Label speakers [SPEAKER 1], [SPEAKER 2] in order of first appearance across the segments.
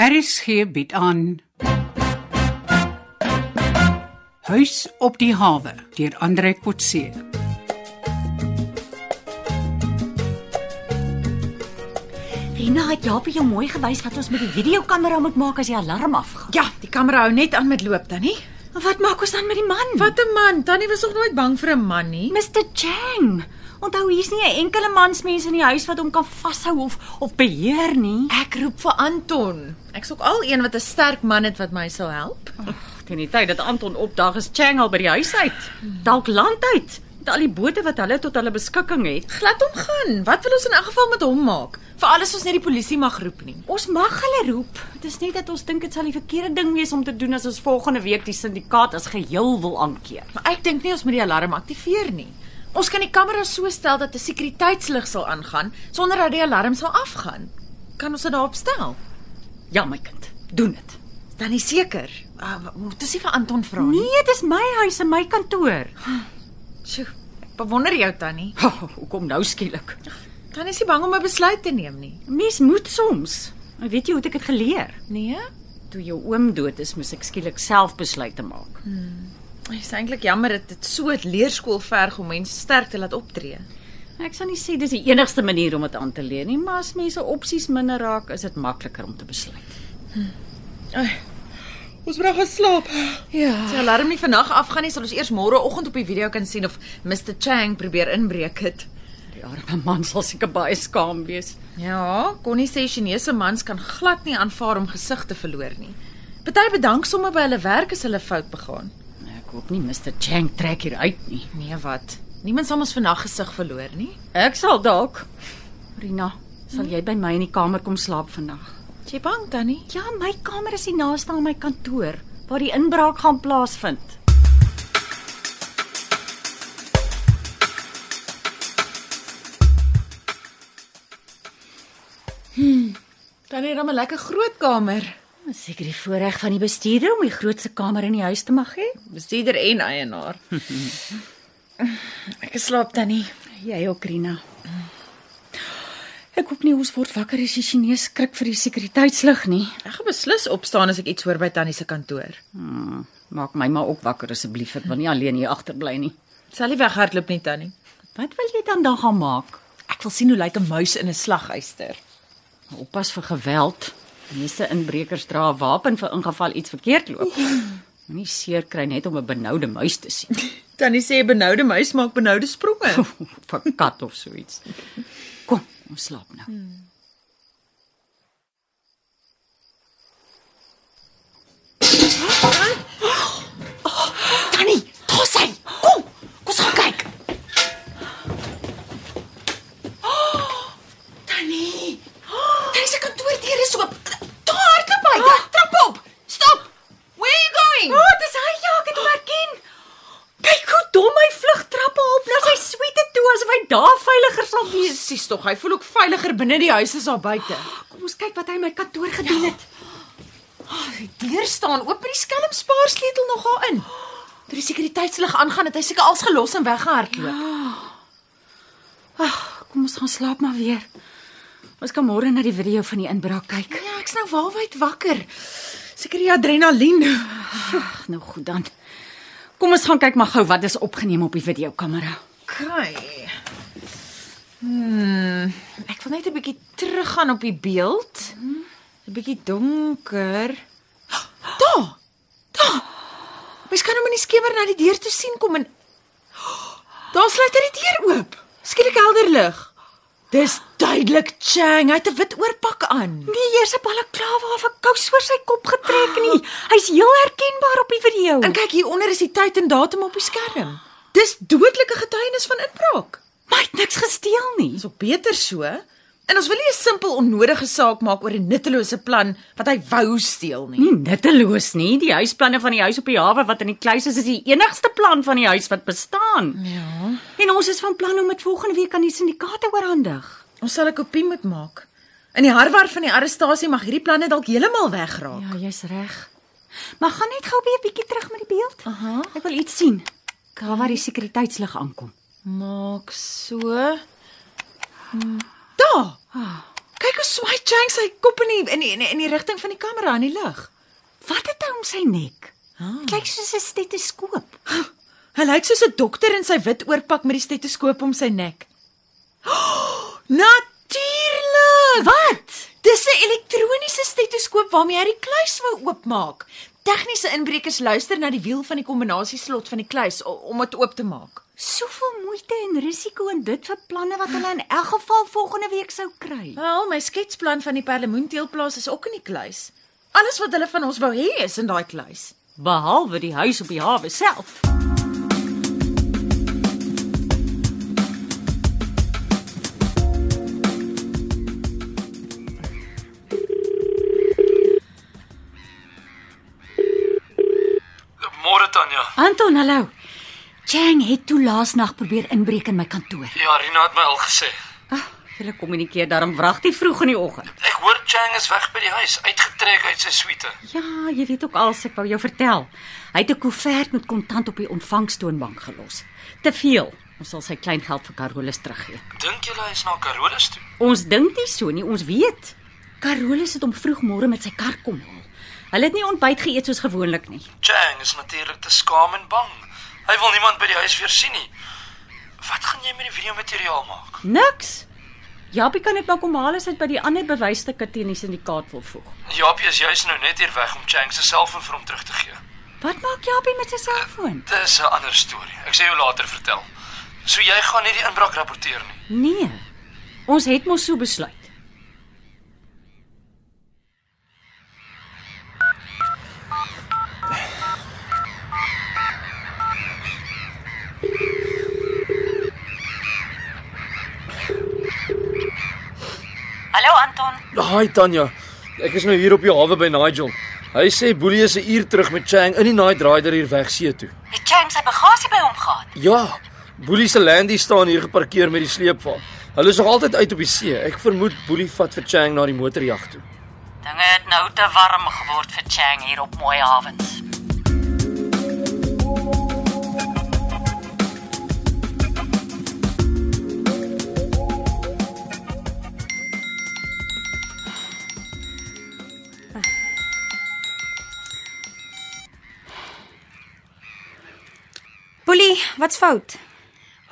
[SPEAKER 1] RSG bied aan Huis op die hawe deur Andre Kotse.
[SPEAKER 2] Rina nou het Japie jou mooi gewys wat ons met die videokamera moet maak as die alarm afgaan.
[SPEAKER 3] Ja, die kamera hou net aan met loop dan nie.
[SPEAKER 2] Maar Wat maak ons dan met die man?
[SPEAKER 3] Wat 'n man, Tannie was nog nooit bang vir 'n man nie.
[SPEAKER 2] Mr Chang. Onthou hier's nie 'n enkele mansmens in die huis wat hom kan vashou of of beheer nie.
[SPEAKER 3] Ek roep vir Anton. Ek's ook al een wat 'n sterk man het wat my sal help.
[SPEAKER 4] Teen die tyd dat Anton opdag is Chang al by die huis uit. Dalk land uit met al die bote wat hulle tot hulle beskikking het.
[SPEAKER 3] Glad hom gaan. Wat wil ons in elk geval met hom maak? Veral as ons net die polisie mag roep nie.
[SPEAKER 2] Ons mag hulle roep. Dit is net dat ons dink dit sal die verkeerde ding wees om te doen as ons volgende week die sindikaat as geheel wil aankeer.
[SPEAKER 3] Maar ek dink nie ons moet die alarm aktiveer nie. Ons kan die kamera so stel dat 'n sekuriteitslig sal aangaan sonder dat die alarm sal afgaan. Kan ons dit daarop stel?
[SPEAKER 4] Ja my kind, doen dit.
[SPEAKER 3] Dan is seker. Uh, moet ons nie vir Anton vra nie.
[SPEAKER 2] Nee, dis my huis en my kantoor.
[SPEAKER 3] Sjoe, ek bewonder jou tannie.
[SPEAKER 4] Oh, hoekom nou skielik?
[SPEAKER 3] Tannie is nie bang om 'n besluit te neem nie.
[SPEAKER 4] Mens moet soms. En Weet jy hoe het ek dit geleer?
[SPEAKER 3] Nee.
[SPEAKER 4] Toe jou oom dood is, moes ek skielik self besluit te maak.
[SPEAKER 3] Dit is eintlik jammer dat dit so 'n leerskool verg om mense sterk te laat optree.
[SPEAKER 4] Ek sal nie sê dis die enigste manier om dit aan te leer nie, maar as mense opsies minder raak, is dit makliker om te besluit.
[SPEAKER 3] Ons moet gaan slaap. Ja. As die alarm nie vandag afgaan nie, sal ons eers môreoggend op die video kan sien of Mr Chang probeer inbreek het.
[SPEAKER 4] Die arme man sal seker baie skaam wees.
[SPEAKER 3] Ja, Connie sê Chinese mans kan glad nie aanvaar om gesig te verloor nie. Party bedank sommer by hulle werk as hulle fout begaan.
[SPEAKER 4] Ek hoop nie Mr. Chang trek hier uit nie.
[SPEAKER 3] Nee, wat? Niemand sal ons vandag gesig verloor nie.
[SPEAKER 4] Ek sal dalk. Rina, sal jy by my in die kamer kom slaap vandag?
[SPEAKER 3] Is Jy bang tannie?
[SPEAKER 2] Ja, my kamer is die naaste aan my kantoor waar die inbraak gaan plaasvind.
[SPEAKER 3] Tannie, dan 'n lekker groot kamer.
[SPEAKER 2] Seker die voorreg van die bestuurder om die grootste kamer in die huis te mag hê.
[SPEAKER 3] Bestuurder en eienaar. Ek slaap tannie.
[SPEAKER 2] Jy ook, Rina. Ek hoop nie ons word wakker as die Chinese skrik vir die sekuriteitslig nie.
[SPEAKER 3] Ek gaan beslis opstaan as ek iets hoor by tannie se kantoor.
[SPEAKER 4] Hmm, Maak my maar ook wakker asseblief. Ek wil nie alleen hier agterbly nie.
[SPEAKER 3] Sal nie weghardloop nie tannie.
[SPEAKER 2] Wat wil jy dan dan gaan maak?
[SPEAKER 3] Ek wil sien hoe lyk 'n muis in 'n slaguister.
[SPEAKER 4] Oppas vir geweld. Meeste inbrekers dra 'n wapen vir ingeval iets verkeerd loop. Moenie seer kry net om 'n benoude muis te sien
[SPEAKER 3] Tannie sê benoude muis maak benoude spronge.
[SPEAKER 4] of 'n kat of so iets. Kom, ons slaap nou.
[SPEAKER 2] Hmm. Tannie, daar's hy. Kom, kom ons gaan kyk. Tannie, daar is 'n kantoordeur is oop. Daar hardloop hy. Daar trap op. Stop. Where are you going? O, oh, Ah. dis hy. Ja, ek het hom herken. Kyk hoe dom hy vlug trappe op nou na sy suite toe asof hy daar veiliger sal wees.
[SPEAKER 3] Presies tog, hy voel ook veiliger binne die huis as daar buite. Ja.
[SPEAKER 2] Kom ons kyk wat hy in my kantoor gedoen het.
[SPEAKER 3] Ah, Die deur staan oop, maar die skelm spaar sleutel nog daarin. Toe die sekuriteitslig aangaan, het hy seker als gelos en weggehardloop. Ja.
[SPEAKER 2] Ja. Ag, kom ons gaan slaap maar weer. Ons kan môre na die video van die inbraak kyk.
[SPEAKER 3] ja, ek's nou waarwyd wakker. Seker die adrenalien.
[SPEAKER 2] Ag, nou goed dan. Kom ons gaan kyk maar gou wat is opgeneem op die videokamera.
[SPEAKER 3] Okay. Hmm, ek wil net 'n bietjie teruggaan op die beeld. 'n Bietjie donker. Daar. Daar. Mens kan hom in die skemer na die deur toe sien kom en Daar sluit hy die deur oop. Skielik helder lig. Dis duidelik Chang, hy het 'n wit oorpak aan.
[SPEAKER 2] Nee, eers 'n balaklava of 'n kous oor sy kop getrek nie. Hy's heel herkenbaar op die video.
[SPEAKER 3] En kyk hieronder is die tyd en datum op die skerm. Dis dodelike getuienis van inbraak.
[SPEAKER 2] maar hy het niks gesteel nie.
[SPEAKER 3] Dis op beter so. En ons wil nie 'n simpel onnodige saak maak oor 'n nuttelose plan wat hy wou steel nie.
[SPEAKER 4] Nie nutteloos nie. Die huisplanne van die huis op die hawe wat in die kluis is, is die enigste plan van die huis wat bestaan.
[SPEAKER 3] Ja.
[SPEAKER 2] Hmm. En ons is van plan om dit volgende week aan die sindikaate oorhandig.
[SPEAKER 3] Ons sal 'n kopie moet maak. In die harwar van die arrestasie mag hierdie planne dalk heeltemal wegraak.
[SPEAKER 2] Ja, jy's reg. Maar gaan net gou weer 'n bietjie terug met die beeld.
[SPEAKER 3] Aha.
[SPEAKER 2] Ek wil iets sien. Daar waar die sekuriteitslig aankom.
[SPEAKER 3] Maak so. Daar. Kyk hoe swaai Chang sy kop in die in die, in die, in die rigting van die kamera in die lug.
[SPEAKER 5] Wat het hy om sy nek?
[SPEAKER 4] Ah.
[SPEAKER 5] Dit lyk soos 'n stetoskoop.
[SPEAKER 3] Hy lyk soos 'n dokter in sy wit oorpak met die stetoskoop om sy nek. Oh, Natuurlik. Wat? Dis 'n elektroniese stetoskoop waarmee hy die kluis wou oopmaak. Tegniese inbrekers luister na die wiel van die kombinasieslot van die kluis o- om dit oop te maak.
[SPEAKER 5] Soveel moeite en risiko in dit vir planne wat hulle in elk geval volgende week sou kry.
[SPEAKER 3] Wel, my sketsplan van die perlemoenteelplaas is ook in die kluis. Alles wat hulle van ons wou hê is in daai kluis.
[SPEAKER 2] behalwe die huis op die hawe self.
[SPEAKER 6] Môre Tanya.
[SPEAKER 5] Anton, hallo. Chang het toe laasnag probeer inbreek in my kantoor.
[SPEAKER 6] Ja, Rina het my al gesê.
[SPEAKER 2] Ah, Hulle kommunikeer daarom wragtig vroeg in die oggend.
[SPEAKER 6] Ek hoor Chang is weg by die huis, uitgetrek uit sy suite.
[SPEAKER 2] Ja, jy weet ook al, ek wou jou vertel. Hy het 'n koevert met kontant op die ontvangstoonbank gelos. Te veel. Ons sal sy kleingeld vir Carolus teruggee.
[SPEAKER 6] Dink jy hy is na Carolus toe?
[SPEAKER 2] Ons dink nie so nie, ons weet. Carolus het hom vroegmôre met sy kar kom haal. Hulle het nie ontbyt geëet soos gewoonlik nie.
[SPEAKER 6] Chang is natuurlik te skaam en bang. Hy wil niemand by die huis weer sien nie. Wat gaan jy met die videomateriaal maak?
[SPEAKER 2] Niks. Japie kan dit maar kom haal as hy dit by die ander bewysstukke teen die sindikaat wil voeg.
[SPEAKER 6] Japie is juis nou net hier weg om Chang se selfoon vir hom terug te gee.
[SPEAKER 2] Wat maak Japie met sy selfoon?
[SPEAKER 6] Dis 'n ander storie. Ek sê jou later vertel. So jy gaan nie die inbraak rapporteer nie.
[SPEAKER 2] Nee. Ons het mos so besluit.
[SPEAKER 7] Hallo Anton.
[SPEAKER 6] Haai Tanya. Ek is nou hier op die hawe by Nigel. Hy sê Boelie is 'n uur terug met Chang in die Night Rider hier weg see toe.
[SPEAKER 7] Het Chang sy bagasie by hom gehad?
[SPEAKER 6] Ja, Boelie se landie staan hier geparkeer met die sleepwa. Hulle is nog altyd uit op die see. Ek vermoed Boelie vat vir Chang na die motorjag toe.
[SPEAKER 7] Dinge het nou te warm geword vir Chang hier op Mooi Havens.
[SPEAKER 8] Boelie, wat's fout?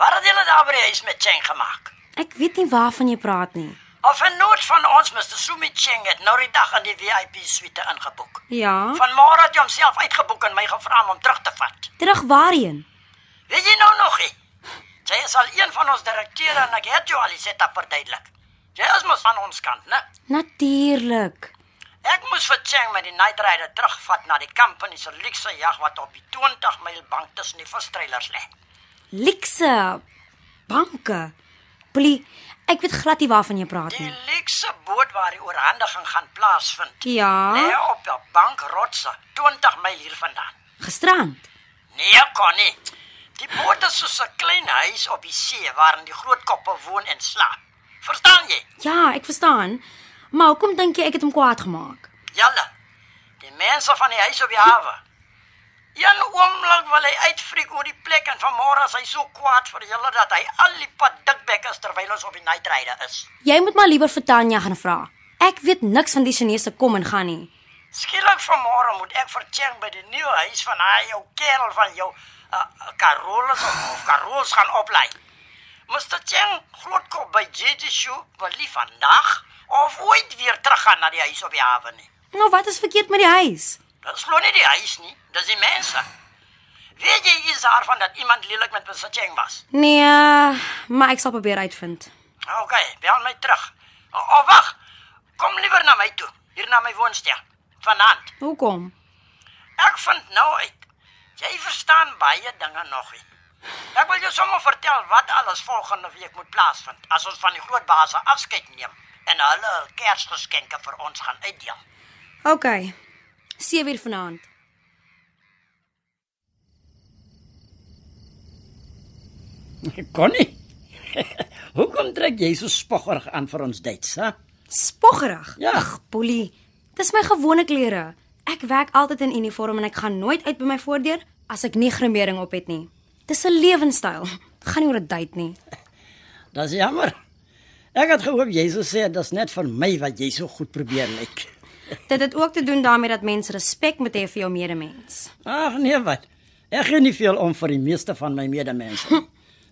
[SPEAKER 9] Wat het julle daar by die huis met Cheng gemaak?
[SPEAKER 8] Ek weet nie waarvan jy praat nie.
[SPEAKER 9] Of 'n noot van ons Mr. Sumi Cheng het nou die dag in die VIP suite ingeboek.
[SPEAKER 8] Ja.
[SPEAKER 9] Vanmôre het hy homself uitgeboek en my gevra om hom terug te vat.
[SPEAKER 8] Terug waarheen?
[SPEAKER 9] Weet jy nou nog nie? Jy is al een van ons direkteure en ek het jou al iets dit verduidelik. Jy is mos aan ons kant, né?
[SPEAKER 8] Natuurlik.
[SPEAKER 9] Ek moes vir Cheng met die Night Rider terugvat na die kamp in die Selixe jag wat op die 20 myl bank tussen die verstrylers lê.
[SPEAKER 8] Likse banke. Boelie, ek weet glad nie waarvan jy praat
[SPEAKER 9] Die
[SPEAKER 8] nie.
[SPEAKER 9] Lykse boot waar die oorhandiging gaan plaasvind.
[SPEAKER 8] Ja.
[SPEAKER 9] Lê op 'n bankrotse 20 myl hier vandaan.
[SPEAKER 8] Gisterand.
[SPEAKER 9] Nee, Connie. Die boot is soos 'n klein huis op die see waarin die groot koppe woon en slaap. Verstaan jy?
[SPEAKER 8] Ja, ek verstaan. Maar hoekom dink jy ek het hom kwaad gemaak?
[SPEAKER 9] Julle. Die mense van die huis op die hawe. Een oomblik wil hy uitfriek oor die plek en vanmôre is hy so kwaad vir julle dat hy al die pad dikbek is terwyl ons op die night ride is.
[SPEAKER 8] Jy moet maar liewer vir Tanya gaan vra. Ek weet niks van die Chinese kom en gaan nie.
[SPEAKER 9] Skielik vanmôre moet ek vir Cheng by die nuwe huis van hy jou kerel van jou uh, Carolus of, of Carolus gaan oplei. Mr. Cheng grootkop by Gigi Shu wil lief vandag of ooit weer teruggaan na die huis op die hawe nie.
[SPEAKER 8] Nou wat is verkeerd met die huis?
[SPEAKER 9] Dit glo nie die huis nie, dis die mense. Weet jy iets daarvan dat iemand lelik met Mr. Cheng was?
[SPEAKER 8] Nee, maar ek sal probeer uitvind.
[SPEAKER 9] OK, bel my terug. O, o wag. Kom liewer na my toe, hier na my woonstel. Vanaand.
[SPEAKER 8] Hoekom?
[SPEAKER 9] Ek vind nou uit. Jy verstaan baie dinge nog nie. Ek wil jou sommer vertel wat alles volgende week moet plaasvind as ons van die groot baas afskeid neem en hulle hul Kersgeskenke vir ons gaan uitdeel.
[SPEAKER 8] OK. 7 uur vanaand.
[SPEAKER 10] Connie. Hoekom trek jy so spoggerig aan vir ons dates, hè?
[SPEAKER 8] Spoggerig.
[SPEAKER 10] Ja.
[SPEAKER 8] Ag, Polly, dis my gewone klere. Ek werk altyd in uniform en ek gaan nooit uit by my voordeur as ek nie grimering op het nie. Dis 'n lewenstyl. Gaan nie oor 'n date nie.
[SPEAKER 10] Dis jammer.
[SPEAKER 9] Ek het gehoop jy sou sê dis net vir my wat jy so goed probeer lyk.
[SPEAKER 8] Dit het ook te doen daarmee dat mens respek moet hê vir jou medemens.
[SPEAKER 9] Ag nee wat. Ek gee nie veel om vir die meeste van my medemense.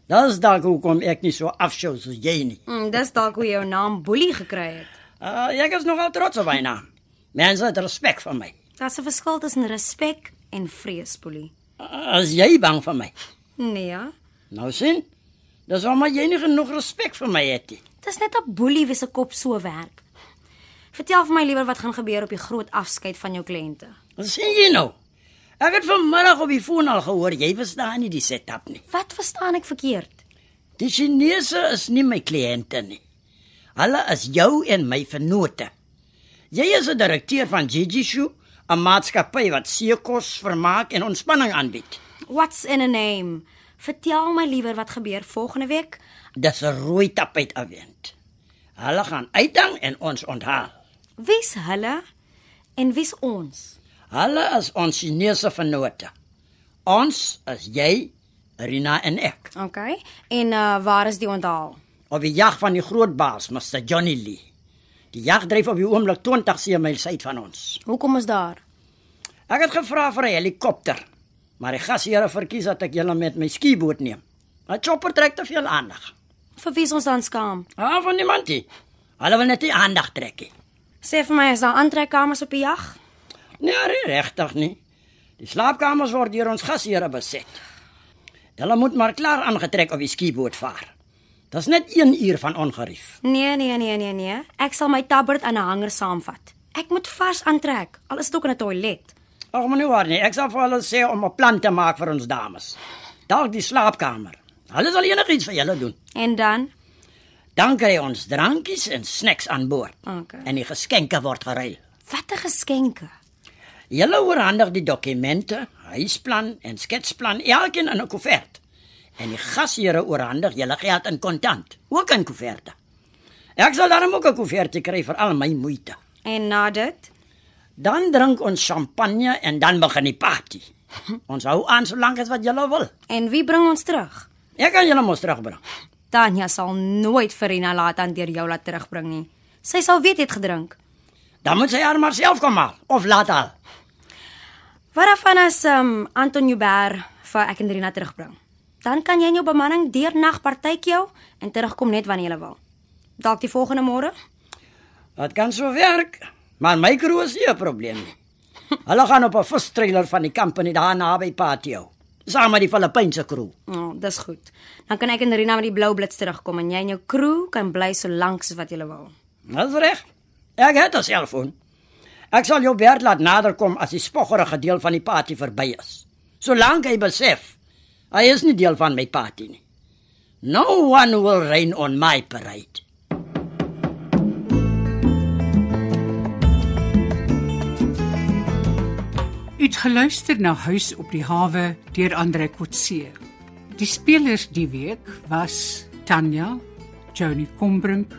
[SPEAKER 9] Dis dalk hoekom ek nie so afskou soos jy nie.
[SPEAKER 8] Mm, dis dalk hoe jy jou naam Boelie gekry het.
[SPEAKER 9] Uh, ek is nogal trots op my naam. Mense het respek vir my.
[SPEAKER 8] Daar's 'n verskil tussen respek en vrees, Boelie.
[SPEAKER 9] As Ah, jy bang vir my.
[SPEAKER 8] Nee ja.
[SPEAKER 9] Nou sien? Dis omdat jy nie genoeg respek vir my het nie.
[SPEAKER 8] Dis net 'n boelie wie se kop so werk. Vertel vir my liewer wat gaan gebeur op die groot afskeid van jou kliënte.
[SPEAKER 9] Wat sien jy nou? Ek het vanmiddag op die foon al gehoor jy verstaan nie die setup nie.
[SPEAKER 8] Wat verstaan ek verkeerd?
[SPEAKER 9] Die Chinese is nie my kliënte nie. Hulle is jou en my vennote. Jy is 'n direkteur van Gigi Shoe, 'n maatskappy wat seekos, vermaak en ontspanning aanbied.
[SPEAKER 8] What's in a name? Vertel my liewer wat gebeur volgende week.
[SPEAKER 9] Dis 'n rooi tapijt afwend. Hulle gaan uitdang en ons onthaal.
[SPEAKER 8] Wie's hulle en wie's ons?
[SPEAKER 9] Hulle is ons Chinese vennote. Ons is jy, Rina en ek
[SPEAKER 8] OK. En uh waar is die onthaal?
[SPEAKER 9] op die jag van die groot baas, Mr Johnny Lee. Die jag dryf op die oomblik 20 seemyl suid van ons.
[SPEAKER 8] Hoekom is daar?
[SPEAKER 9] Ek het gevra vir 'n helikopter, maar die gasheer verkies dat ek julle met my skieboot neem. 'n Chopper trek te veel aandag.
[SPEAKER 8] Vir wie is ons dan skaam?
[SPEAKER 9] Ah, van niemand nie. Hulle wil net die aandag trek. nie.
[SPEAKER 8] Sê vir my, is daar aantrekkamers op die jag?
[SPEAKER 9] Nee, nie regtig nie. Die slaapkamers word deur ons gasheer beset. Hulle moet maar klaar aangetrek op die skieboot vaar. Dis net 1 uur van ongerief.
[SPEAKER 8] Nee, nee, nee, nee, nee. Ek sal my tabbert aan 'n hanger saamvat. Ek moet vars aantrek, al is dit ook in 'n toilet.
[SPEAKER 9] Ag, maar nie waar nie. Ek sal vir hulle sê om 'n plan te maak vir ons dames. Dalk die slaapkamer. Hulle sal enigiets vir julle doen.
[SPEAKER 8] En dan,
[SPEAKER 9] Dan kry ons drankies en snacks aan boord.
[SPEAKER 8] Okay.
[SPEAKER 9] En die geskenke word geruil.
[SPEAKER 8] watter geskenke?
[SPEAKER 9] Julle oorhandig die dokumente, huisplan en sketsplan elkeen in 'n koevert. En die gasheere oorhandig julle geld in kontant, ook in koeverte. Ek sal daarom ook 'n koevert kry vir al my moeite.
[SPEAKER 8] En na dit,
[SPEAKER 9] Dan drink ons champagne en dan begin die party. Ons hou aan solank as wat julle wil.
[SPEAKER 8] en wie bring ons terug?
[SPEAKER 9] Ek kan julle mos terugbring.
[SPEAKER 8] Tanya sal nooit Verena laat aan deur jou laat terugbring nie. Sy sal weet jy het gedrink.
[SPEAKER 9] Dan moet sy haar maar self kom haal of laat haal.
[SPEAKER 8] Wat daarvan as um, Anton Jubber vir ek en Rina terugbring? Dan kan jy in jou bemanning deur nag partytjie hou en terugkom net wanneer jy wil. Dalk die volgende môre?
[SPEAKER 9] Dit kan so werk, maar my kroeg is nie 'n probleem nie. Hulle gaan op 'n vistreiler van die company daar naby Patio, saam met die Filippynse kroeg.
[SPEAKER 8] Ja, oh, dis goed. Dan kan ek en Rina met die blou blits terugkom en jy en jou crew kan bly so lank as wat jy wil.
[SPEAKER 9] Dis reg. Ek het 'n selfoon. Ek sal jou Bert laat naderkom as die spoggerige deel van die party verby is. Solank hy besef hy is nie deel van my party nie. No one will rain on my parade.
[SPEAKER 1] Uitgeluister na Huis op die hawe deur Andre Kotse. Die spelers die week was Tanya, Johnny Combrink,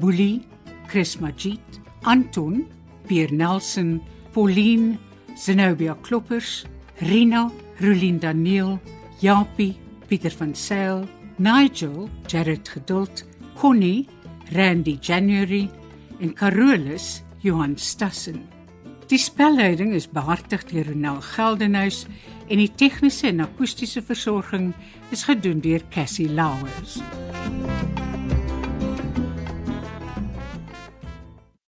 [SPEAKER 1] Boelie, Chris Magid, Anton, Pierre Nelson, Pauline, Zenobia Kloppers, Rina, Rulien Daniel, Japie, Pieter van Sail, Nigel, Jared Geduld, Connie, Randy January en Carolus Johan Stassen. Die spelleiding is behartig deur Ronel Geldenhuys en die tegniese en akoestiese versorging is gedoen deur Cassie Lauers.